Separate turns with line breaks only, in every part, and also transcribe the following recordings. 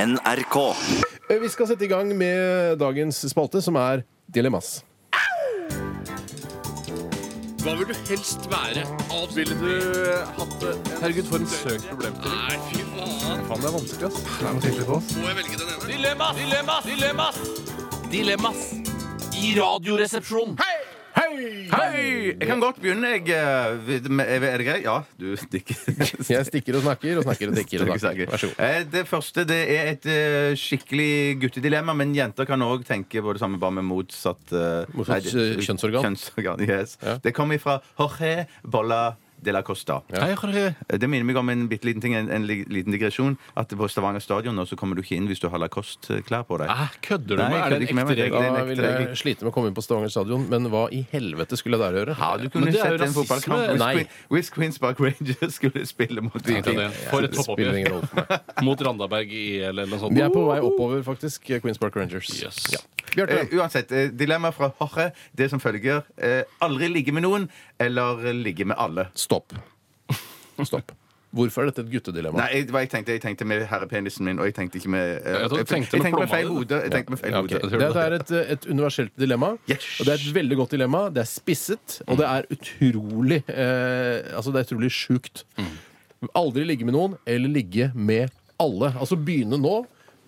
NRK.
Eh, Vi skal sette i gang med dagens spalte, som er Dilemmas.
Hva vil du helst være? Ville du hatt det? Herregud, for en søk problem til. Nei, fy faen. Faen, det er vanskelig, ass. Må jeg velge den ene? Dilemmas! Dilemmas! Dilemmas! Dilemmas i Radioresepsjonen.
Hei! Jeg kan godt begynne, jeg. eh, med- Er det greit? Ja, du stikker.
Jeg stikker og snakker og snakker og stikker. Og snakker. Vær så god.
Eh, Det første det er et eh, skikkelig guttedilemma, men jenter kan òg tenke på det samme, bare med motsatt eh,
Motsatt,
nei, det-
eh, kjønnsorgan.
kjønnsorgan, yes.
Ja.
Det kommer fra Jorge Bolla de la Costa. Hei, Jorge. Det minner meg om en bitte liten ting, en, en li- liten digresjon. At på Stavanger stadion nå så kommer du ikke inn hvis du har Lacoste-klær
Ah,
på deg.
Æ, kødder du
Nei,
med?
jeg
Er det
kødder ikke
en ekte
med meg.
regel?
Det er
Da
en
vil
ekte regel.
jeg slite med å komme inn på Stavanger stadion, men hva i helvete skulle jeg der gjøre?
Ja, du kunne
Men det er jo
sett en
rasisme.
fotballkamp.
Nei.
Hvis, Que- hvis Queens Park Rangers skulle spille mot Viking.
det. For et
Det spiller ingen rolle for meg.
toppoppgjør. Mot Randaberg i EL eller noe sånt.
Vi er på vei oppover, faktisk. Queens Park Rangers.
Yes.
Ja. Bjarte.
Eh, uansett, eh, dilemma fra Jorge det som følger. Eh, aldri ligge med noen, eller ligge med alle.
Stopp. Stopp. Hvorfor er dette et guttedilemma?
Nei, jeg, hva jeg tenkte jeg tenkte med herrepenisen min, og jeg tenkte ikke med eh,
Jeg tror du tenkte med plomma
feil
di, du.
hode. Jeg tenkte med feil
Ja, ok.
hode.
tror
Det er et, et universelt dilemma,
Yes.
og det er et veldig godt dilemma. Det er spisset, og det er utrolig eh, Altså, det er utrolig sjukt. Aldri ligge med noen, eller ligge med alle. Altså begynne nå.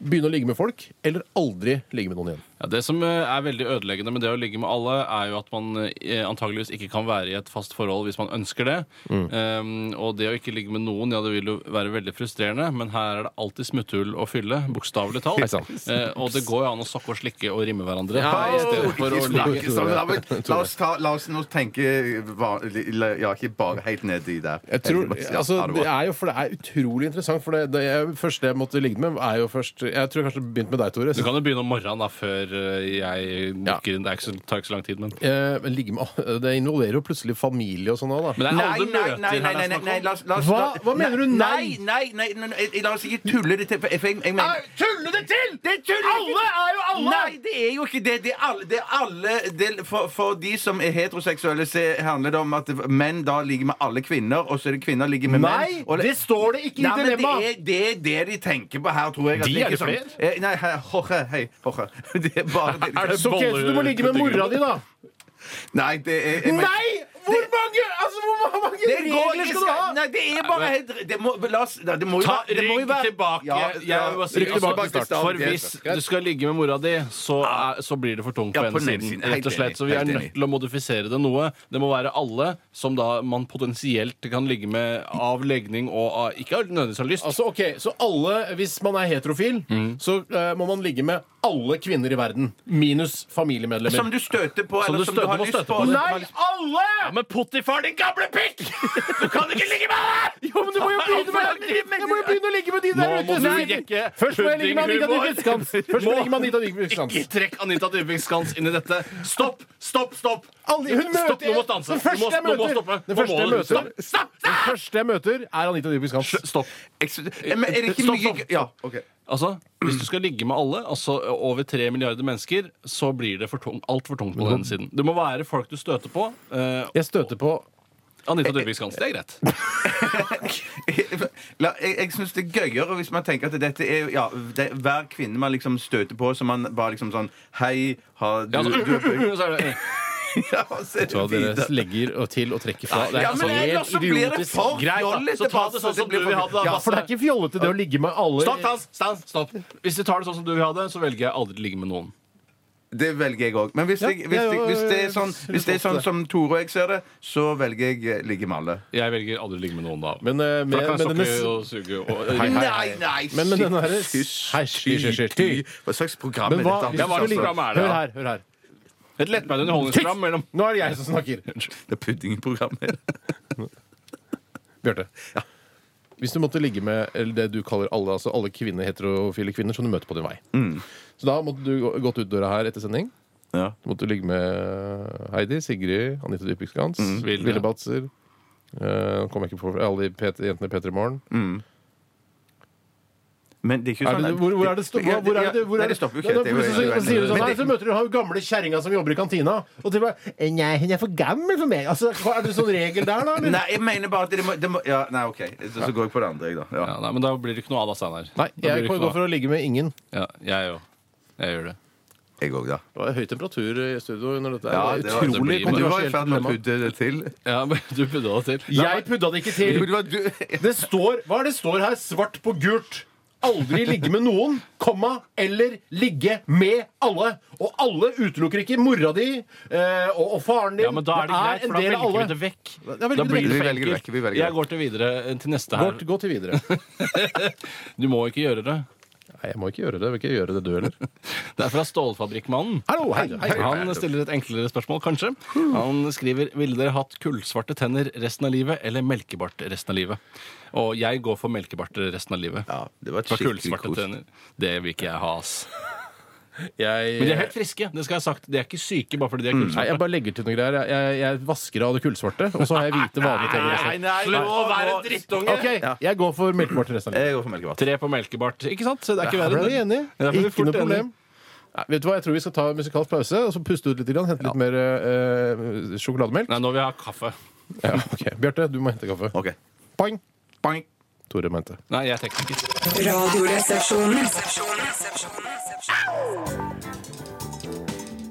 Begynne å ligge med folk, eller aldri ligge med noen igjen.
Ja, det som eh, er veldig ødeleggende med det å ligge med alle, er jo at man eh, antageligvis ikke kan være i et fast forhold hvis man ønsker det.
Mm.
Um, og det å ikke ligge med noen, ja, det vil jo være veldig frustrerende, men her er det alltid smutthull å fylle, bokstavelig talt.
Hei sann.
Eh, og det går jo an å sokke og slikke og rimme hverandre. i stedet for å ligge.
Snakke sammen. La oss- La oss, ta, la oss nå tenke va- li- Ja, ikke bare helt nedi der.
Jeg tror,
Ja,
altså,
ha det
det
bra.
er jo, for det er utrolig interessant. For det, det jeg, første jeg måtte ligge med, er jo først Jeg tror jeg kanskje begynte med deg, Tore.
Du kan jo begynne om morgenen da, før eh, jeg dukker inn. Det er ikke så, tar ikke så lang tid, men
Eh, men ligge med, det involverer jo plutselig familie og sånn òg, da.
Men det er
Nei,
alle
nei,
møter
nei,
her det
nei, nei,
er
nei,
snakk
nei,
om.
la oss, la oss,
Hva? Hva mener du?
Nei, nei, nei, nei, nei, nei, la oss ikke tulle det til. for Jeg, for jeg, jeg mener
Tulle det til!
Det tuller ikke!
Alle er jo alle!
Nei, det er jo ikke det. Det er alle. Det er alle det, for, for de som er heteroseksuelle, så handler det om at menn da ligger med alle kvinner, og så er det kvinner ligger med menn. og-
står det ikke
Nei, men det er, det er det de tenker på her, tror jeg. at
De
det
er
ikke
det
sånn- Eh, Nei, hei, Jorge. Hei, Jorge. Det er bare det de-
Er det
Så, ok, så du må ligge med mora di, da?
Nei, det er jeg mener-
Hvor mange altså, hvor mange
Det går ikke! Nei, det er bare helt Det må, la oss, nei, det må jo
Ta
være det må jo
rygg
være-
tilbake.
Ja,
Jeg-
ja.
jeg vil bare si-
Rygg tilbake
til start.
For hvis du skal ligge med mora di, så, er, så blir det for tungt
Ja,
på ene
på den ene
siden.
siden. Helt
Rett og
enig,
slett. Så vi er
helt
nødt
enig.
til å modifisere det noe. Det må være alle som da man potensielt kan ligge med av legning og av ikke nødvendigvis har lyst.
Altså, ok, Så alle, hvis man er heterofil,
Mm.
så eh, må man ligge med alle kvinner i verden. Minus familiemedlemmer.
Som du støter på, eller
du
som du
støter
har
på,
lyst
støter
på.
på.
eller som
Nei,
har lyst-
alle!
Ja, men Pottifar, din gamle pikk! Du kan ikke ligge med alle!
Jo, men du må jo begynne med Jeg må jo begynne å ligge med de
Nå
der
må
ute!
du
som ligger-
jekke
Først må jeg ligge med Anita
puddinghumor.
Dybvik Skans. Først må jeg ligge med Anita Dybvik Skans.
Ikke trekk Anita Dybvik Skans inn i dette. Stopp! Stopp! Stopp!
Aldri- hun møter-
Stopp, nå må stanse.
Den første
Nå må-
jeg
nå må
møter-
stoppe.
den
Nå
første
må
jeg
du-
møter-
Stopp! Stopp!
Den første jeg møter, er Anita Dybvik Skans.
Stopp.
Jeg synes- eh, Men er det ikke
Stopp,
mye
stopp.
Ja, ok.
Altså, Hvis du skal ligge med alle, altså over tre milliarder mennesker, så blir det for tung, altfor tungt på den siden. Det må være folk du støter på. eh,
Jeg støter på
Anita Dyrvik Skansen. Det er greit.
La, jeg jeg syns det er gøyere hvis man tenker at dette er ja, det, hver kvinne man liksom støter på, så man bare liksom sånn Hei, har du,
Ja,
sånn.
altså,
du
så er det,
Ja, og så er det
hva dere
videre.
legger og til og trekker fra. Det er
Ja,
altså
men ellers så
helt
blir det
idiotisk.
for
Greit, da.
fjollete.
Så ta det sånn som du vil ha det, da.
Ja,
For det er ikke fjollete det å ligge med alle
Stopp, Hans! Stans, stopp. Hvis de tar det sånn som du vil ha det, så velger jeg aldri å ligge med noen.
det velger jeg òg. Men hvis, jeg, hvis,
ja,
jeg, hvis, det er
ja,
sånn, hvis det er sånn som Tore og jeg ser det, så velger jeg eh, ligge med alle.
Jeg velger aldri å ligge med noen da.
Men, eh,
For da kan jeg
men- men
sokke
denne-
og suge og
Hei, hei, hei.
nei!
Men- men den
shit,
derre-
hysj,
Hei, hysj, hysj, hysj.
ty, Hva slags program
Men
er
hva,
dette?
hvis
Ja, hva
du
slags
ligger-
program er det,
Hør
da?
her, hør her.
Et lettbeint underholdningsprogram mellom
Nå er det jeg som snakker.
Det er puddingprogrammet.
Bjarte. Hvis du måtte ligge med eller det du kaller alle altså alle kvinner, heterofile kvinner som du møter på din vei Så da måtte du gå- gått ut døra her etter sending.
Ja.
Så måtte du ligge med eh, Heidi, Sigrid, Anita Dybvik Skans,
Vilde.
Ville Batzer eh, Kom jeg ikke på alle de P- jentene i P3 Morgen.
Men det er ikke
Er
sånn
det, hvor, hvor er det sto-
Ja,
hvor- hvor er det hvor
Nei,
er
det
det
stopper jo ikke.
Nå
Det er jo-
plutselig så- så sier du sånn,
Men
Nei,
det-
så møter du hun gamle kjerringa som jobber i kantina, og de bare «Eh, Nei, hun er for gammel for meg. Altså, hva- er det sånn regel der, da? eller?
Nei, jeg mener bare at det må, det må ja, Nei, OK. Så, så går jeg på det andre, jeg, da.
Ja,
Ja.
nei, men da blir det ikke noe av da,
Nei,
Steinar. Da blir
jeg
det
kan
ikke
gå
noe av.
for å ligge med ingen.
Ja, jeg òg. Jeg gjør det.
Jeg òg, da.
Det var høy temperatur i studio under dette.
Ja,
her.
det var-
det
utrolig
blir-
Men du var i
kontroversielt
ferd med å
dilemma.
pudde det til.
Ja, men du pudda det til.
Jeg pudda det ikke
Men
til.
det var du-
Det står, hva er det står her? Svart på gult. Aldri ligge med noen, komma, eller ligge med alle. Og alle utelukker ikke mora di eh, og, og faren din.
Ja, men da er det greit, for da velger vi det vekk.
Da velger
Da
vi
blir
det
det
Vi
for
velger
enkelt.
vekk, vi velger vekk.
Jeg går til videre eh, til neste
vekk.
her.
Gå til videre.
Du må ikke gjøre det.
Nei, jeg må ikke gjøre det. Jeg vil ikke gjøre det, du heller.
Det er fra Stålfabrikkmannen.
Hallo, hei, hei.
Han stiller et enklere spørsmål, kanskje. Han skriver Ville dere hatt kullsvarte tenner resten av livet eller melkebart resten av livet? Og jeg går for melkebart resten av livet.
Ja, det var et
For
skikkelig
kullsvarte
kos.
tenner. Det vil ikke jeg ha, ass.
Jeg,
Men de er helt friske. det skal jeg ha sagt. De er ikke syke bare fordi de er
Nei, jeg
kullsvarte.
bare legger til noen greier. Jeg, jeg, jeg vasker av det kullsvarte, og så har jeg hvite vanlige tenner. resten.
Slutt å være drittunge!
OK, jeg går for melkebart resten av livet.
Jeg går for melkevatt.
Tre på melkebart. Ikke sant? Så det er ikke
Her
verre.
ble vi
det.
enige.
Ja, vi er
Ikke
fort
noe problem.
enige.
Nei, vet du hva, Jeg tror vi skal ta en musikalsk pause og så puste ut litt. grann, Hente litt mer eh, sjokolademelk.
Nei, nå vil jeg ha kaffe.
Ja, ok. Bjarte, du må hente kaffe.
OK.
Poeng!
Bang.
Tore må hente.
Nei, jeg er tekniker.
Radioresepsjonen.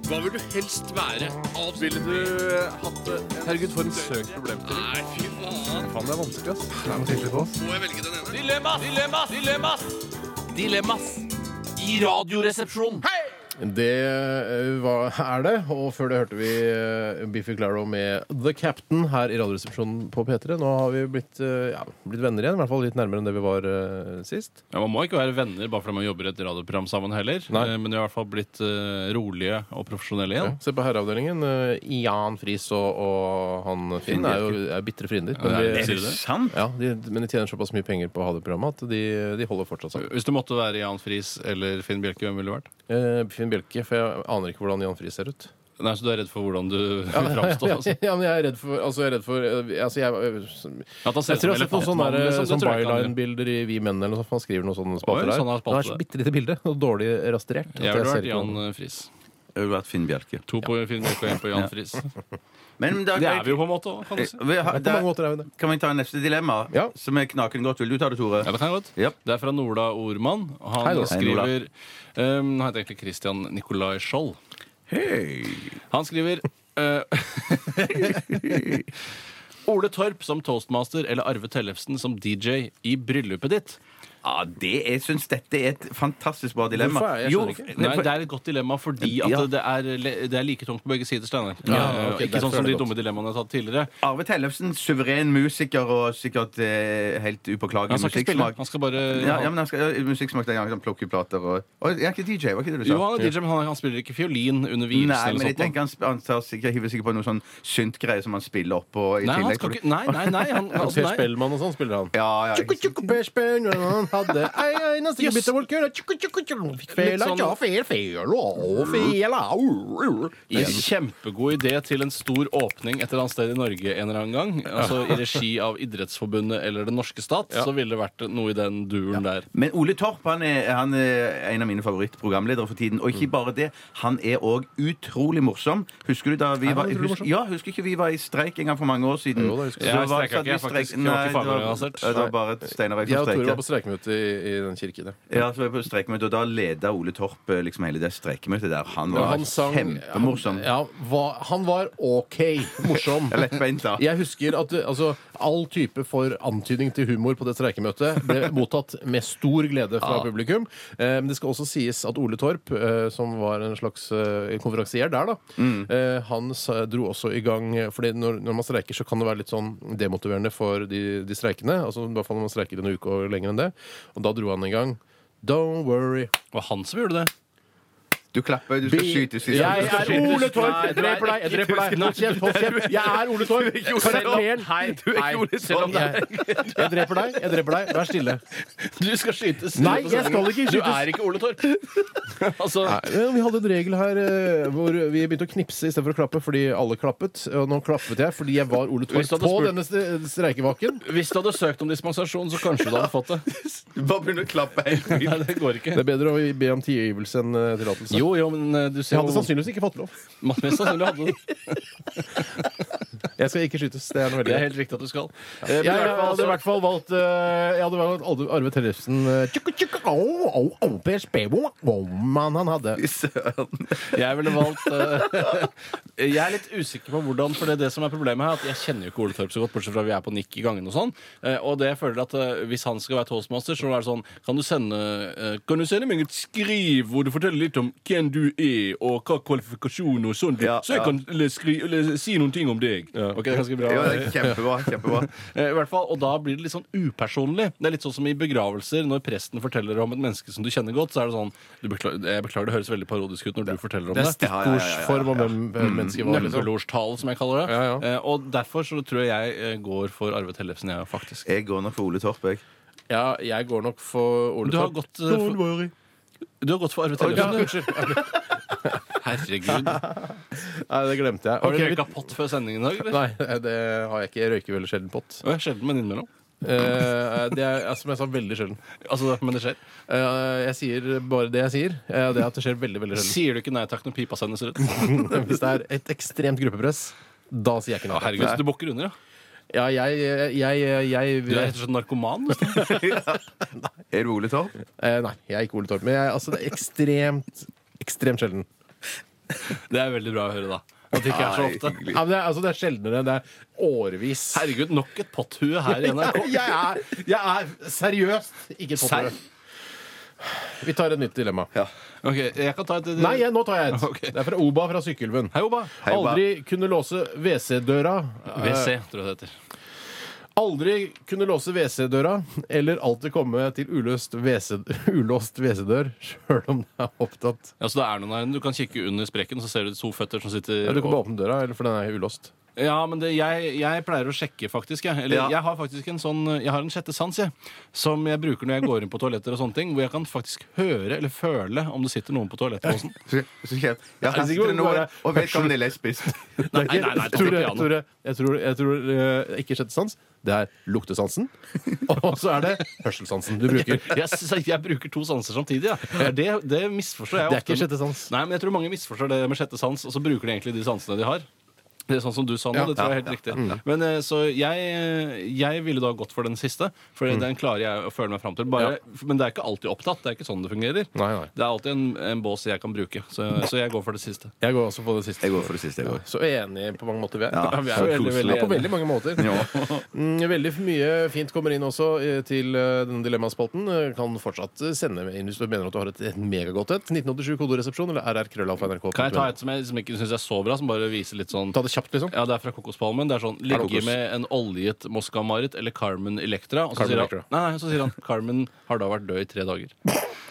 Hva vil du helst være? Ville du eh, hatt det? Herregud, for en søk problemstilling. Nei, fy faen.
Faen, det er vanskelig, ass.
Må jeg velge den ene? Dilemmas! Dilemmas! Dilemmas! Dilemmas i Radioresepsjonen.
Det eh, hva er det. Og før det hørte vi eh, Biffy Claro med The Captain her i Radioresepsjonen på P3. Nå har vi blitt, eh, ja, blitt venner igjen. I hvert fall litt nærmere enn det vi var eh, sist.
Ja, man må ikke være venner bare fordi man jobber i et radioprogram sammen heller.
Nei.
Eh, Men vi har i hvert fall blitt eh, rolige og profesjonelle igjen.
Se på herreavdelingen. eh, Jan Friis og, og han Finn er jo er bitre fiender.
Ja, det er
men
det.
de-
Er det sant?
Ja, de, men de tjener såpass mye penger på å ha det programmet at de, de holder fortsatt sammen.
Hvis du måtte være Jan Friis eller Finn Bjelke, hvem ville du vært?
Eh, Finn Bjelke, for jeg aner ikke hvordan Jan Friis ser ut.
Nei, Så du er redd for hvordan du framstår? Altså.
Ja, men jeg er redd for Altså, jeg er redd for eh, altså, jeg,
At han ser
jeg tror sånn jeg har sett
ut som
noen
elefantmann,
sånne,
liksom, det
sånne
tror jeg ikke han gjør.
byline-bilder i Vi menn eller noe sånt. for Han skriver noen sånne spalter
Oi,
der.
sånn har
det er så
spalter.
bitte lite bilde og dårlig restaurert. at
Jeg ville
ser
vært
ikke
Jan eh,
hvordan-
Friis.
Jeg ville vært Finn Bjelke.
To på Finn Bjelke og én på Jan Friis.
Men da,
Det er vi jo på en måte òg, kan du si.
Eh,
Vi har-
På mange måter er vi det.
Kan vi ta neste dilemma?
Ja.
Som er knakende godt. Vil du ta det, Tore?
Ja, det kan jeg godt.
Japp.
Det er fra Nola Ormann. og Han
Hei, Nola.
Hei, Nola.
skriver um, Han heter egentlig Christian Nicolai Skjold. Han skriver eh, Ole Torp som toastmaster eller Arve Tellefsen som DJ i bryllupet ditt.
Ja, det, jeg syns dette er et fantastisk bra dilemma.
Hvorfor er jeg- jeg
Jo,
skjønner ikke.
nei,
Nei, Det er et godt dilemma fordi at
Ja.
det, er, le- det er like tungt på begge sider. Steinar.
Ja,
Eh,
ok,
ikke
derfor
sånn
er det
som de
godt.
dumme dilemmaene jeg har tatt tidligere.
Arve Tellefsen, suveren musiker og sikkert eh, helt upåklagelig
Han skal ikke spille.
musikksmak.
Han skal bare
Ja, ja, men han skal, ja, musikksmak den gangen han plukker plater og Å, Jeg er ikke DJ, var ikke det du sa?
Jo, han er DJ, men han, han spiller ikke fiolin under vielsen.
Nei,
eller
men jeg
sånt noe.
tenker han, sp- han tar sikkert, hiver sikkert på noe sånn synt-greie som han spiller opp på. i
Nei, han
tillegg.
skal ikke Nei, nei, nei. Han,
Og
altså,
Per
nei.
Spellmann og sånn spiller han.
Ja, ja,
Tjukku,
ikke sant.
tjukku, Per Spellmann, han hadde ei eneste
Jøss.
bitte volkør, tjukku, tjukku, tjukku, fikk
Litt
fela,
sånn-
tja, fel, fel, å, fela, å, å.
En kjempegod idé til en stor åpning et eller annet sted i Norge en eller annen gang. Altså I regi av Idrettsforbundet eller Den norske stat. Så ville det vært noe i den duren der.
Men Ole Torp han er, han er en av mine favorittprogramledere for tiden. Og
Mm.
ikke bare det, han er òg utrolig morsom. Husker du da vi
han
var
utrolig
husk,
morsom?
Ja, husker ikke vi var i streik en gang for mange år siden?
Jo da, husker jeg.
Så
Jeg
var-
streiket
satt
ikke,
vi
jeg faktisk. Jeg var
Nei,
ikke
det var-
fagorganisert.
ja, Det var bare et Steinar Eik
Jeg
som
og Tore var på
streiket.
streikemøte i, i den kirken. ja.
Ja, så var vi på streikemøte, og da leda Ole Torp eh, liksom hele det streikemøtet der. Han var
Han sang
kjempemorsom.
Han, ja, var, han var OK morsom.
Ja, Lettbeint, da.
Jeg husker at eh, altså, all type for antydning til humor på det streikemøtet ble mottatt med stor glede fra publikum. Eh, Men det skal også sies at Ole Torp, eh, som var en slags eh, konferansier der, da,
Mm.
eh, han sa- dro også i gang eh, fordi når, når man streiker, så kan det være litt sånn demotiverende for de, de streikende. Altså, I hvert fall når man streiker en uke og lenger enn det. Og da dro han i gang Don't worry.
Det var han som gjorde det.
Du klapper, du skal skytes i
Jeg
Du skal
er
skytes.
Ole Torp! Jeg dreper deg! Jeg dreper deg! Hold kjeft! Hold kjeft! Jeg er Ole Torp! Karakteren!
Hei,
Du er ikke Ole
selv om det er
Jeg dreper deg, jeg dreper deg. Vær stille.
Du skal skytes.
Nei, jeg skal ikke
Du
skytes.
er ikke Ole Torp. altså,
Ja, Vi hadde en regel her eh, hvor vi begynte å knipse istedenfor å klappe fordi alle klappet. Og nå klappet jeg fordi jeg var Ole
Hvis
Torp
du hadde
på
spurt-
denne st- streikevaken.
hvis du hadde søkt om dispensasjon, så kanskje du hadde fått det.
Bare begynn å klappe helt vilt.
Nei, det går ikke.
Det er bedre å be om tilgivelse enn eh, tillatelse.
Jo, jo, men eh, du ser
Jeg hadde sannsynligvis ikke fått lov.
Mest sannsynlig hadde du det.
Jeg skal ikke skytes. Det er noe
Det
veldig
er helt riktig at du skal. Eh,
jeg, jeg hadde i hvert fall valgt eh, Jeg hadde valgt Alve- Arve Tellefsen. eh, tjukk, tjukk, au, au, au, Per Spebo, au, mann han hadde.
Søren.
Jeg ville valgt eh, Jeg er litt usikker på hvordan For det, er det som er problemet her, at jeg kjenner jo ikke Ole Torp så godt, bortsett fra vi er på nikk i gangen og sånn. Eh, og det jeg føler at eh, hvis han skal være toastmaster, så er det sånn Kan du sende eh, Kan du sende meg et skriv hvor du forteller litt om hvem du er, og hva kvalifikasjoner og sånn, du-
Ja,
så jeg
ja.
kan le, skri, le, si noen ting om deg. Ok, det er ganske bra.
Ja, det er kjempebra. kjempebra
Eh, I hvert fall, og da blir det litt sånn upersonlig. Det er litt sånn som i begravelser, når presten forteller om et menneske som du kjenner godt, så er det sånn du beklager, Jeg beklager, det høres veldig parodisk ut når du forteller om det.
Ja, ja, ja, ja, ja.
Ordsform om hvem eh, mennesket var. liksom.
Nøkkelordstale, som jeg kaller det.
Ja, ja.
Eh, og derfor så tror jeg jeg eh, går for Arve Tellefsen, jeg, faktisk.
Eh,
Jeg går nok for Ole Torp, jeg.
Ja, jeg går nok for Ole
Du har
Torp.
gått, eh, for,
worry.
du har gått for Arve
ja,
Tellefsen, du. Herregud.
Nei, det glemte jeg.
Har du
Ok, vi-
røyka pott før sendingen i dag, eller?
Nei, eh, det har jeg ikke. Jeg røyker veldig sjelden pott.
Å, jeg er Sjelden, men innimellom.
Eh, det er, som jeg sa, veldig sjelden.
Altså, men det skjer.
Eh, jeg sier bare det jeg sier. eh, det er at det skjer veldig veldig sjelden.
Sier du ikke nei takk når pipa sendes ut? Å,
Hvis det er et ekstremt gruppepress, da sier jeg ikke nei.
herregud, så du bukker under, ja.
Ja, jeg, jeg, jeg,
Du er rett og slett narkoman. nesten.
Er du Ole Torp?
Eh, Nei, jeg er ikke Ole Torp. Men jeg, altså, det er ekstremt ekstremt sjelden.
Det er veldig bra å høre, da. At det ikke er så
Nei,
ofte.
hyggelig.
Ja, men det, er, altså, det er sjeldnere. Det er årevis.
Herregud, nok et potthue her i NRK.
Jeg er, jeg er seriøst ikke et
Serr?
potterød. Vi tar et nytt dilemma.
Ok, jeg kan ta et
Nei, jeg, nå tar jeg et.
Ok.
Det er fra Oba fra Sykkylven.
Hei, Oba.
Hei, Oba.
Aldri kunne låse WC-døra. Eh,
WC, tror jeg det heter.
Aldri kunne låse WC-døra, eller alltid komme til uløst WC ulåst WC-dør, sjøl om det er opptatt.
Ja, så det er noen her, Du kan kikke under sprekken, så ser du to føtter som sitter
Ja, du kan bare åpne døra, eller for den er ulåst.
Ja, men det, jeg, jeg pleier å sjekke, faktisk. Jeg. Eller,
Ja.
jeg har faktisk en sånn Jeg har en sjette sans jeg, som jeg bruker når jeg går inn på toaletter, og sånne ting hvor jeg kan faktisk høre eller føle om det sitter noen på toalettet.
Så, så kjent. Ja, her
det
sitter
ikke
det noen,
bare-
og vedkommende er lesbisk.
Nei, nei, nei, nei, det
Tore,
tenker jeg nå.
Tore, jeg tror, jeg tror eh, ikke sjette sans. Det er luktesansen. Og så er det hørselssansen du bruker.
Jeg, s- jeg bruker to sanser samtidig. Ja. Det, det misforstår jeg
Det er
ofte.
ikke sjette sans.
Nei, men jeg tror mange misforstår det med sjette sans, og så bruker de egentlig de sansene de har. Det er sånn som du sa nå.
Ja, Mm.
det tror jeg er
ja,
helt riktig. Men eh, Så jeg, jeg ville da gått for den siste, for
Mm.
den klarer jeg å føle meg fram til. Bare, Men det er ikke alltid opptatt. Det er ikke sånn det fungerer.
Nei, nei.
Det er alltid en, en bås jeg kan bruke, så, så jeg går for det siste.
Jeg går også på det siste.
Jeg går for det siste. jeg går
Så enige på mange måter vi er.
Ja,
vi er
så
veldig,
koselig.
veldig, enige. på veldig mange måter.
Ja.
Mm, Veldig mye fint kommer inn også eh, til eh, denne dilemmaspalten. Eh, Kan fortsatt eh, sende inn hvis du mener at du har et, et megagodt et. 1987 kodoresepsjon eller rrkrøllalfa.nrk.
Kan jeg ta et som jeg liksom ikke syns er så bra, som bare viser litt sånn
Ta det kjapt, liksom.
ja, Det er fra Kokospalmen. Det er sånn
det
Ligge
kokos?
med en oljet Moskva-Marit eller Carmen Electra. Og så,
Carmen
sier han,
Electra.
nei, nei, så sier han Carmen har da vært død i tre dager.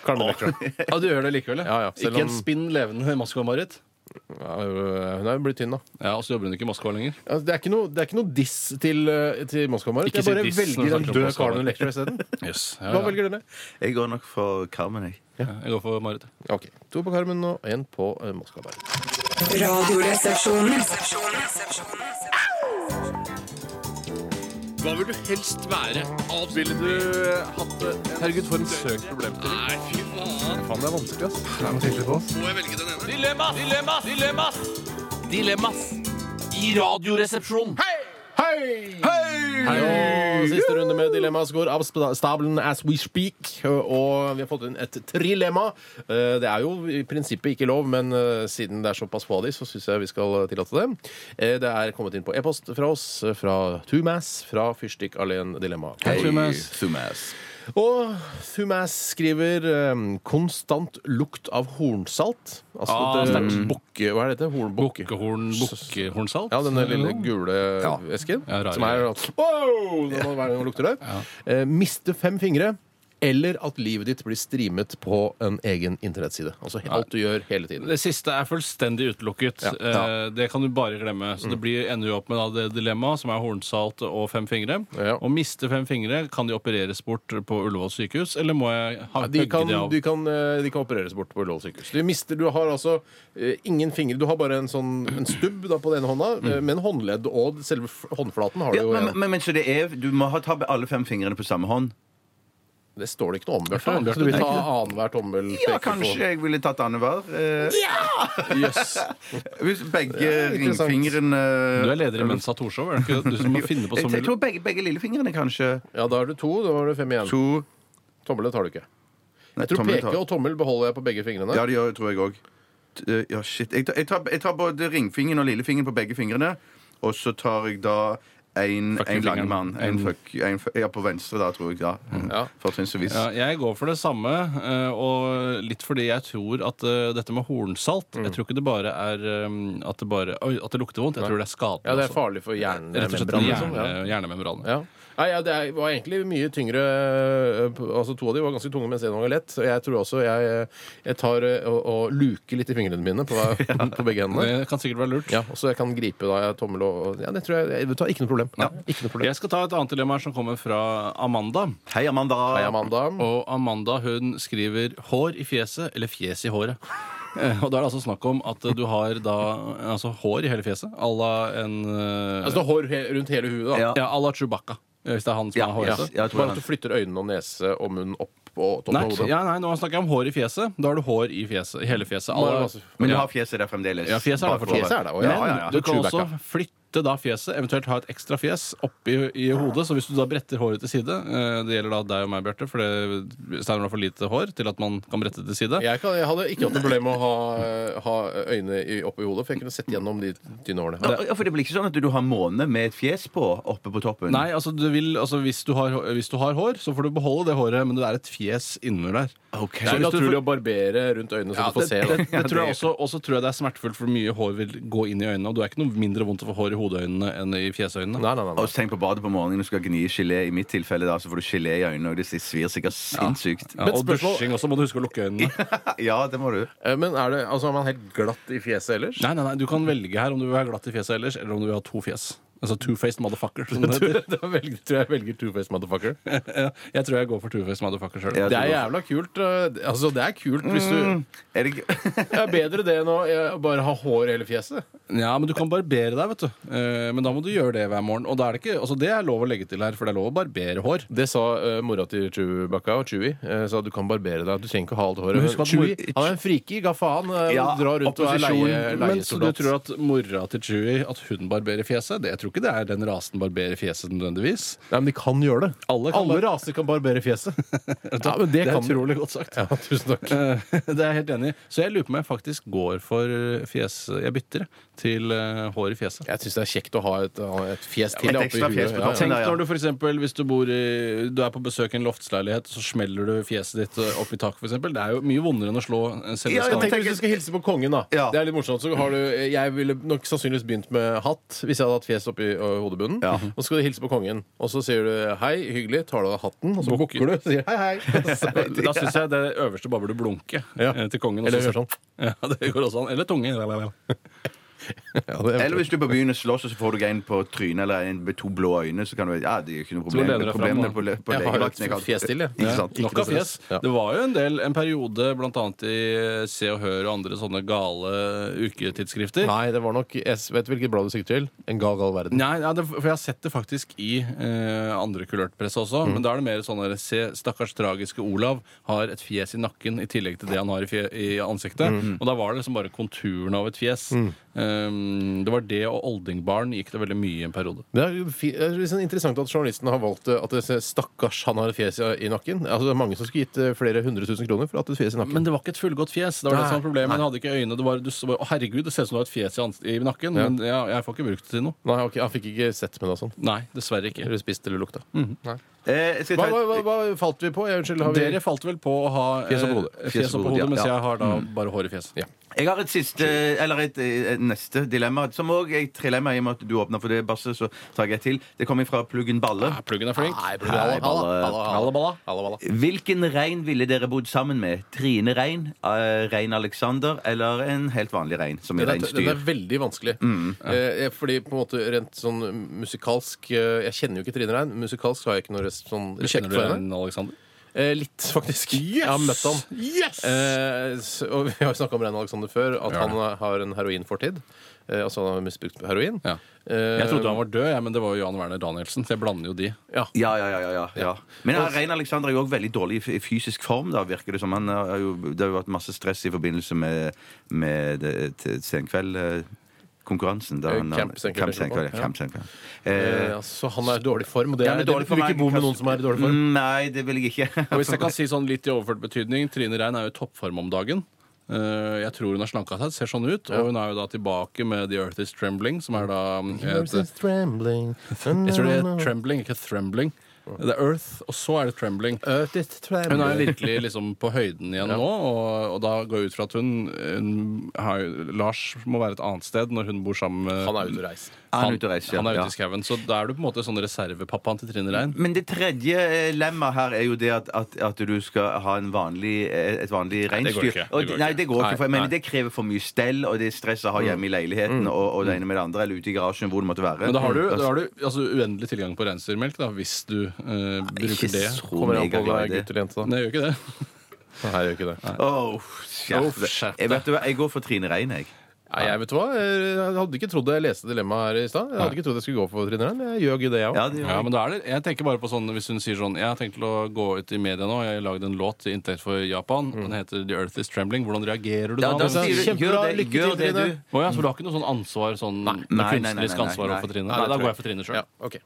Carmen Electra.
Ja, du gjør det likevel,
Ja, ja, selv
Ikke
om-
en spinn levende Moskva-Marit.
Ja, øh, Hun er jo blitt tynn, da.
Ja, og så jobber hun ikke i Moskva lenger.
Altså, Det er ikke noe, det er ikke noe diss til, eh, til Moskva-Marit.
Ikke
Jeg bare
si diss når
velger en
du snakker om
død
Moskva-Marit.
Carmen Electra isteden.
Ja,
Hva
ja.
velger dere?
Jeg går nok for Carmen, jeg.
Ja, Jeg går for Marit.
Ok, To på Carmen og én på eh, Moskva-Marit.
Radioresepsjonen.
Hva vil du helst være? Ville du eh, hatt det? Herregud, for en søk problemstilling. Nei, fy faen.
Faen, det er vanskelig, ass.
Må jeg velge den ene? Dilemmas! Dilemmas! Dilemmas! Dilemmas! I Radioresepsjonen.
Hei! Og siste runde med dilemmas går av sp- stabelen as we speak. Og vi har fått inn et trilemma. Eh, Det er jo i prinsippet ikke lov, men eh, siden det er såpass få av de, så syns jeg vi skal tillate det. Eh, Det er kommet inn på e-post fra oss, eh, fra Tumas, fra Fyrstikk Alene Dilemma.
Sumas.
Sumas.
Og Thumas skriver eh, 'konstant lukt av hornsalt'. Altså
Ah,
det-
sterkt.
bukke... Hva er dette? Hornbukke?
Bukkehorn, bukkehornsalt.
Ja, denne lille gule esken.
Ja, rar
som er
greie.
Wow! Det må være noe lukter der. Eh, miste fem fingre. Eller at livet ditt blir streamet på en egen internettside. Altså alt du gjør hele tiden.
Det siste er fullstendig utelukket. Eh, Det kan du bare glemme. Så
Mm.
det blir, ender jo opp med da det dilemmaet, som er hornsalt og fem fingre.
Ja.
Å miste fem fingre, kan de opereres bort på Ullevål sykehus, eller må jeg ha
De kan,
hogge de av?
de, kan, eh, de kan opereres bort på Ullevål sykehus. Du, mister, du har altså eh, ingen fingre. Du har bare en, sånn, en stubb da, på den ene hånda,
Mm.
eh, men håndledd og selve f- håndflaten har du
Ja,
jo
men,
igjen.
men, men så det er Du må ha ta alle fem fingrene på samme hånd.
Det står det ikke noe om,
Det er
Bjarte.
ikke
Så du vil
det.
ta annenhver tommel?
Ja,
peke på-
kanskje jeg ville tatt annenhver. Eh,
Jøss.
Hvis begge
Ja, interessant.
ringfingrene
Du er leder i Mensa Torshov, er det ikke du som må finne på så
jeg, jeg
mye?
tror begge, begge lillefingrene, kanskje.
Ja, da er du to. Da har du fem igjen.
To
Tommelen tar du ikke.
Nei,
Jeg tror
tommel
peke
tar-
og tommel beholder jeg på begge fingrene.
Ja, det gjør jeg, tror jeg òg. Ja, shit. Jeg tar, jeg, tar, jeg tar både ringfingeren og lillefingeren på begge fingrene. Og så tar jeg da en,
Fucking
en lang
fingeren.
mann. En
En- Mm.
fuck, en, fu- ja, på venstre, da, tror jeg. da
Ja.
Fortrinnsvis.
Ja, jeg går for det samme, eh, og litt fordi jeg tror at eh, dette med hornsalt Jeg
Mm.
tror ikke det bare er eh, at det, bare, oi, at det lukter vondt, jeg tror det er skadelig.
Ja, det er
også.
farlig for
Rett og slett
hjernemembranen.
hjerne,
Liksom. Ja.
hjernemembranen.
Ja. Nei, ja, det er- var egentlig mye tyngre eh, p- Altså To av de var ganske tunge, mens en var lett. Så Jeg tror også jeg, eh, jeg tar eh, og, og luker litt i fingrene mine på, på begge hendene.
Det kan sikkert være lurt.
Ja, og Så jeg kan gripe da jeg tommel og og- Ja, det tror jeg, jeg vet du hva, Ikke noe problem. Ikke noe problem.
Jeg skal ta et annet dilemma her som kommer fra Amanda.
Hei, Amanda.
Hei, Amanda.
Og Amanda hun skriver 'hår i fjeset' eller 'fjes i håret'. Eh, Og da er det altså snakk om at eh, du har da eh, altså, hår i hele fjeset à la en eh,
Altså hår he rundt hele huet, da.
Ja.
Ja, à la Chewbacca. eh, Hvis det er han som
Ja,
er
ja.
hårete.
jeg tror
Bare at
det.
du flytter øynene og nese og munn opp på toppen
Nei,
av hodet.
ja, nei, nå snakker jeg om hår i fjeset. Da har du hår i fjeset. i Hele fjeset.
Bare
Alle-
masse-
Men du
ja.
har fjeset der fremdeles.
Ja, fjeset er der
Bak
fortsatt.
over.
Fjeset er der også,
ja.
ja.
Ja, ja,
Du
ja.
kan også
Chewbacca.
flytte da fjeset, eventuelt ha et ekstra fjes oppi i hodet. Så hvis du da bretter håret til side eh, Det gjelder da deg og meg, Bjarte, for det- Steinar har for lite hår til at man kan brette det til side.
Jeg, kan, jeg hadde ikke hatt noe problem med å ha, eh, ha øynene i, oppe i hodet, for jeg kunne sett gjennom de tynne årene.
Ja, for det blir ikke sånn at du har måne med et fjes på oppe på toppen?
Nei, altså, du vil, altså hvis, du har, hvis du har hår, så får du beholde det håret, men det er et fjes innunder der.
Ok.
Det er
hvis du
naturlig å
får-
barbere rundt øynene så
Ja,
du får se.
det,
Da.
det tror jeg
det-
også, også tror jeg det er smertefullt, for mye hår vil gå inn i øynene. Og du er ikke noe mindre vondt å få hår i hodeøynene enn i fjesøynene.
Nei, nei, nei,
Og så tenk på badet på morgenen, du skal gni gelé. I mitt tilfelle da, så får du gelé i øynene, og det svir sikkert sinnssykt.
Ja,
Men
og
spørsmål-
dusjing også må du huske å lukke øynene.
Ja, det må du.
nei. Eh, Men er, det, altså, er man helt glatt i fjeset ellers?
Nei, nei, nei, Du kan velge her om du vil være glatt i fjeset ellers, eller om du vil ha to fjes. Altså two-faced motherfucker. Som det heter.
Da velger, tror jeg jeg velger two-faced motherfucker.
Ja, jeg tror jeg går for two-faced motherfucker sjøl.
Ja.
Det er jævla kult. eh, Altså, det er kult hvis du
Mm.
Er det ikke
Det er bedre det enn å eh, bare ha hår i hele fjeset.
Ja, men du kan barbere deg, vet du. Eh, Men da må du gjøre det hver morgen. Og da er det ikke, altså det er lov å legge til her, for det er lov å barbere hår.
Det sa eh, mora til Chewbacca og Chewie. eh, sa du kan barbare deg. Du trenger ikke ha alt håret.
Men husk
Men
at
Chewie
mor-
han er en friki. Ga faen. eh,
Ja,
og drar rundt og er
opposisjon.
leie,
Men så du
leiesoldat.
tror at mora til Chewie at hun barberer fjeset? Det, jeg tror ikke det er den rasen barberer fjeset nødvendigvis.
Nei, men de kan gjøre det.
Alle kan
Alle
bar-
raser kan barbere fjeset. ja, men det,
Det er
kan
utrolig godt sagt.
Ja, tusen takk.
Eh, Det er jeg helt enig i. Så jeg lurer på om jeg faktisk går for eh, fjes... Jeg bytter jeg, til eh, hår i fjeset.
Jeg syns det er kjekt å ha et, eh, et fjes til.
Et
oppi
ekstra
huet.
fjes på
Ja, ja.
toppen.
Tenk
Ja, ja.
når du for eksempel, hvis du, bor i, du er på besøk i en loftsleilighet, så smeller du fjeset ditt eh, opp i taket, for eksempel. Det er jo mye vondere enn å slå eh, selve
Ja,
Men
jeg
skallen.
tenk hvis du skal hilse på kongen, da.
Ja.
Det er litt morsomt. Så har du, jeg ville nok sannsynligvis begynt med hatt hvis jeg hadde hatt fjes oppi ø, hodebunnen. Og så skal du hilse på kongen, og så sier du hei, hyggelig, tar du av hatten, og så
Bukker.
bukker du og sier hei, hei. Og så-
Da syns jeg det øverste bare burde blunke
Ja.
eh, til kongen. og
Eller
så-
gjør sånn.
Ja, det går også an. Eller tunge.
Ja, det
Eller
er-
hvis du på byen og slåss, og så får du en på trynet eller en med to blå øyne, så kan du Ja, det er ikke noe problem.
lener deg fram,
Problemene
da.
på, le- på
Jeg har
legevakten,
et
jeg
fjes til, jeg.
Ikke sant?
Nok av fjes.
Ja.
Det var jo en del, en periode, blant annet i eh, Se og Hør og andre sånne gale uketidsskrifter.
Nei, det var nok Jeg vet hvilket blad du sikter til. En gal, gal verden.
Nei, ja, det, for jeg har sett det faktisk i eh, andre kulørt press også. Men da er det mer sånn der, Se, stakkars tragiske Olav har et fjes i nakken i tillegg til det han har i, fje, i ansiktet. Og da var det liksom bare konturen av et fjes. Um, det var det og oldingbarn gikk det veldig mye i en periode.
Det er jo fi- det er liksom interessant at journalisten har valgt eh, at det ser- stakkars han har et fjes i i nakken. Altså, det er mange som skulle gitt eh, flere hundre tusen kroner for at et fjes i nakken.
Men det var ikke et fullgodt fjes. Det var
Nei,
det som var problemet. Den hadde ikke øyne. Det var, du, så- å, herregud, det ser ut som du har et fjes i, ans- i nakken, men ja, jeg får ikke brukt det til noe.
Nei, ok, Han fikk ikke sett med det og sånn.
Nei, dessverre ikke.
Eller spist eller lukta. Nei.
Eh, skal
Hva,
jeg ta
hva,
et-
hva, hva falt vi på? Jeg, unnskyld, har vi
Dere falt vel på å ha eh,
Fjes opp på hodet.
fjes opp på hodet,
ja,
mens
ja.
jeg har da bare hår i fjeset.
Ja.
Jeg har et siste, eller et, et neste dilemma, som òg er et trilemma i og med at du åpna for det, Basse. Så tar jeg et til. Det kommer fra Pluggen Balle.
Ja, Pluggen er flink.
Nei,
Hei, Balle.
Hallaballa. Hallaballa.
Hvilken rein ville dere bodd sammen med? Trine Rein, eh, Rein Alexander eller en helt vanlig rein? Som er
Den er, den er
reinsdyr.
veldig vanskelig. Eh, fordi på en måte rent sånn musikalsk eh, Jeg kjenner jo ikke Trine Rein. Musikalsk har jeg ikke noe rest, sånn respekt
Kjenner du
for henne.
en Alexander?
Eh, litt, faktisk. Jeg har møtt han. Eh, s- og vi har jo snakka om Rein Alexander før, at
Ja.
han har en heroinfortid. Eh, altså han har misbrukt heroin.
Ja.
Eh,
Jeg trodde han var død, jeg, men det var jo Jan Werner Danielsen. Så jeg blander jo de.
ja.
Ja, ja, ja, ja, ja, ja. Men ja, Rein Alexander er jo også veldig dårlig i f- i fysisk form, da, virker det som. Han eh, har jo, det har jo vært masse stress i forbindelse med, med det- til senkveldkonkurransen. da
Eh,
han-
Camp Senkveld,
Camp Senkveld,
ja.
ja. Camp Senkveld.
Eh,
Eh,
altså, han er i dårlig form, og det
ja,
er,
men
det,
dårlig
vil ikke
han
bo med
kanskje-
noen som er i dårlig form.
mm, Nei, det vil jeg ikke.
Og hvis jeg kan si sånn litt i overført betydning, Trine Rein er jo i toppform om dagen. Eh, Jeg tror hun har slanka seg, ser sånn ut. Og hun er jo da tilbake med The Earth Is Trembling, som er da et,
Versus trembling.
Jeg tror det er trembling, ikke trembling. Det er Earth, og så er det trembling.
Earth is trembling.
Hun er virkelig liksom på høyden igjen nå, og, og da går jeg ut fra at hun, hun har, jo- Lars må være et annet sted når hun bor sammen med
Han er ute og reiser.
Er han ute og reiser, ja.
han er ute
Ja. Mm.
i skauen. Så da er du på en måte sånn reservepappaen til Trine Rein.
Men det tredje eh, lemma her er jo det at, at, at du skal ha en vanlig, eh, et vanlig
det går
reinsdyr.
ikke. Det
Og
går
Nei,
ikke.
det går
Nei,
ikke.
nei.
For,
Mm.
men det krever for mye stell, og det er stress å ha hjemme i leiligheten, og, og det ene med det andre, eller ute i garasjen, hvor det måtte være. Mm.
Men da har du, da har du altså, uendelig tilgang på reinsdyrmelk da, hvis du eh,
Ikke
bruker det.
så
Kommer an på om det er
megaglad i
gutt
det.
eller jente, da.
Nei, jeg gjør ikke det.
Nei, jeg gjør ikke det.
Åh,
Åh,
skjerp
skjerp
deg. Oh, Jeg, vet du hva, jeg går for Trine Rein, jeg.
Nei, jeg vet du hva? Jeg hadde ikke trodd jeg leste dilemmaet her i stad. Jeg hadde ikke trodd jeg skulle gå for trinneren. Jeg gjør ikke det, jeg òg.
Ja, det gjør
Ja,
jeg.
men da er det, jeg tenker bare på sånn Hvis hun sier sånn Jeg har tenkt til å gå ut i media nå. Jeg har lagd en låt til inntekt for Japan. Den heter The Earth Is Trembling. Hvordan reagerer du
Mm. Ja,
da?
da
hvis-
sier du,
Kjempebra.
gjør det,
Lykke
gjør
til,
det,
Trine.
du.
Å ja, så du har ikke noe sånn ansvar sånn noe
Nei, nei, nei,
kunstnerisk
nei,
ansvar
nei.
overfor Trine?
Nei,
Nei, da
det tror
går jeg
jeg.
for Trine sjøl.
Ja, ok.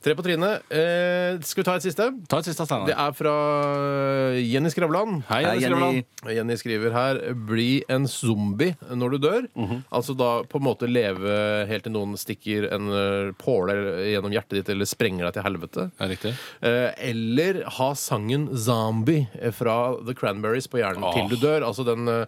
Tre på trynet. Eh, skal vi ta et siste?
Ta et siste, Steinar.
Det er fra eh, Jenny Skravlan.
Hei,
Hei,
Jenny
Jenny.
Skravlan.
Jenny skriver her 'bli en zombie når du dør'.
Mhm.
Altså da på en måte leve helt til noen stikker en eh, påle gjennom hjertet ditt eller sprenger deg til helvete.
Ja, riktig.
Eh, Eller ha sangen 'Zombie' fra The Cranberries på hjernen
Ah.
Åh.
til du dør. Altså den eh,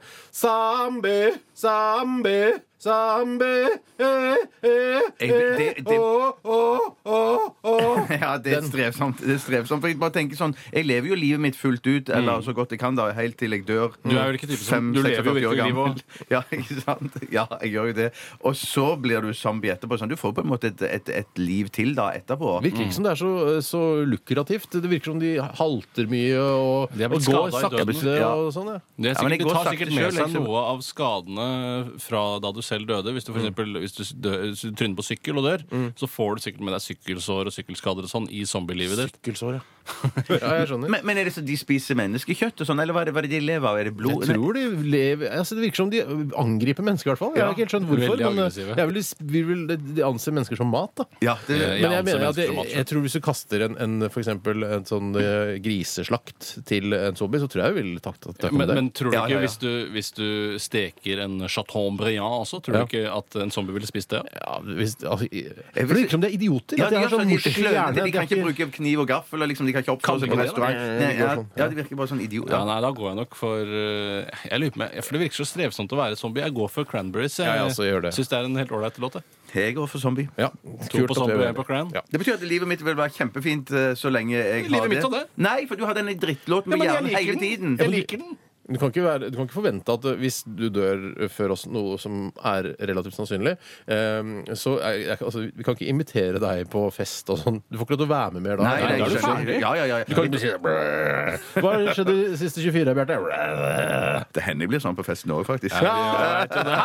Zombie, zombie, zombie eh, eh,
Jeg- det-
eh,
det-
åh, åh, åh, åh.
Ja, det er strevsomt. Det er strevsomt. For jeg bare tenker sånn Jeg lever jo livet mitt fullt ut, eller så godt jeg kan, da, helt til jeg dør.
Du er jo ikke typen som- du lever jo
46 år
virkelig
gammel.
livet
Ja, ikke sant? Ja, jeg gjør jo det. Og så blir du zombie etterpå. Sånn. Du får på en måte et, et, et liv til da etterpå.
Virker
Mm.
ikke som det er så, så lukrativt. Det virker som de halter mye og,
De er
og
blitt
går
skadet i
sakte
døden.
Ja.
og sånn. Ja.
Det er
Ja, men
sikkert,
jeg
de
går
tar
sakte
sikkert med
selv,
seg
liksom.
noe av skadene fra da du selv døde. Hvis
Mm.
du, for eksempel, hvis du dø- hvis du tryner på sykkel og dør, så får du sikkert med deg sykkelsår og sykkelskader og sånn i zombielivet ditt.
Sykkelsår, ja. ja. Jeg skjønner.
Men, men er det så de spiser menneskekjøtt og sånn, eller hva er det, hva er det de lever av? Er det blod?
Jeg tror de lever altså Det virker som de angriper mennesker, i hvert fall. Jeg har ikke helt skjønt hvorfor.
Veldig
Men
aggressive.
eh, jeg vil, vi vil, de anser mennesker som mat, da.
Ja, det,
Ja, ja.
Men jeg
anser
mener at
mennesker
jeg,
som matkjøtt.
jeg tror hvis du kaster en, en for eksempel en sånn eh, griseslakt til en zombie, så tror jeg jeg ville tatt at det kom
Men,
der.
men tror du
Ja,
ikke,
ja, ja.
hvis du, hvis du steker en chateaubriand også, tror
Ja.
du ikke at en zombie ville spist det?
ja, hvis, altså, i-
vil
for det
si-
virker som det er idioter.
Ja,
at de har sånn
de,
morsom
klønete,
hjerne. Det
de
er
kan ikke
ikke-
bruke kniv og gaffel. Og liksom, de kan ikke oppføre seg
ikke
på
det,
restaurant.
nei.
Nei,
Det går
ja,
sånn, ja.
ja, det virker bare sånn idiot.
Ja, nei, da går jeg nok for eh, jeg lurer på meg, For det virker så strevsomt å være zombie. Jeg går for Cranberries. Jeg,
Ja, jeg også gjør det.
Syns det er en helt ålreit låt. jeg.
Jeg går for zombie.
ja,
To
kult
på
at
zombie
vi
og
er
en på Cran.
Ja.
Det betyr at livet mitt vil være kjempefint eh, så lenge jeg
Livet
har
mitt
det.
og det?
Nei, for du har denne drittlåten med hjernen hele tiden.
Jeg liker den.
Du kan, ikke være, du kan ikke forvente at eh, hvis du dør før oss, noe som er relativt sannsynlig eh, Så er, jeg- altså, vi kan ikke invitere deg på fest og sånn. Du får ikke lov til å være med mer da.
Nei, det
da
er
er
ikke
du
sant.
ferdig.
Ja, ja, ja.
Du kan ikke si «Brrr». Hva skjedde de siste 24, Bjarte? Brrr.
Det hender jeg blir sånn på festen òg, faktisk.
Ja, jeg vet jo det.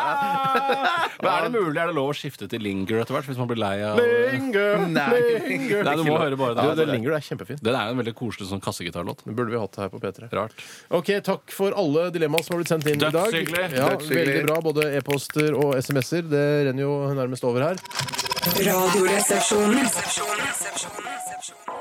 Men er det mulig? Er det lov å skifte til linger etter hvert hvis man blir lei av
Linger,
Nei.
linger.
Nei, du må høre bare
Du,
det.
det linger er kjempefint.
Den er jo en veldig koselig sånn kassegitarlåt.
Det burde vi hatt her på P3.
Rart.
Ok, Takk for alle dilemmaer som har blitt sendt inn i dag.
Dødshyggelig.
Ja,
Dødshyggelig.
veldig bra, Både e-poster og SMS-er. Det renner jo nærmest over her.
Radioresepsjonen. Resepsjonen, resepsjonen, resepsjonen.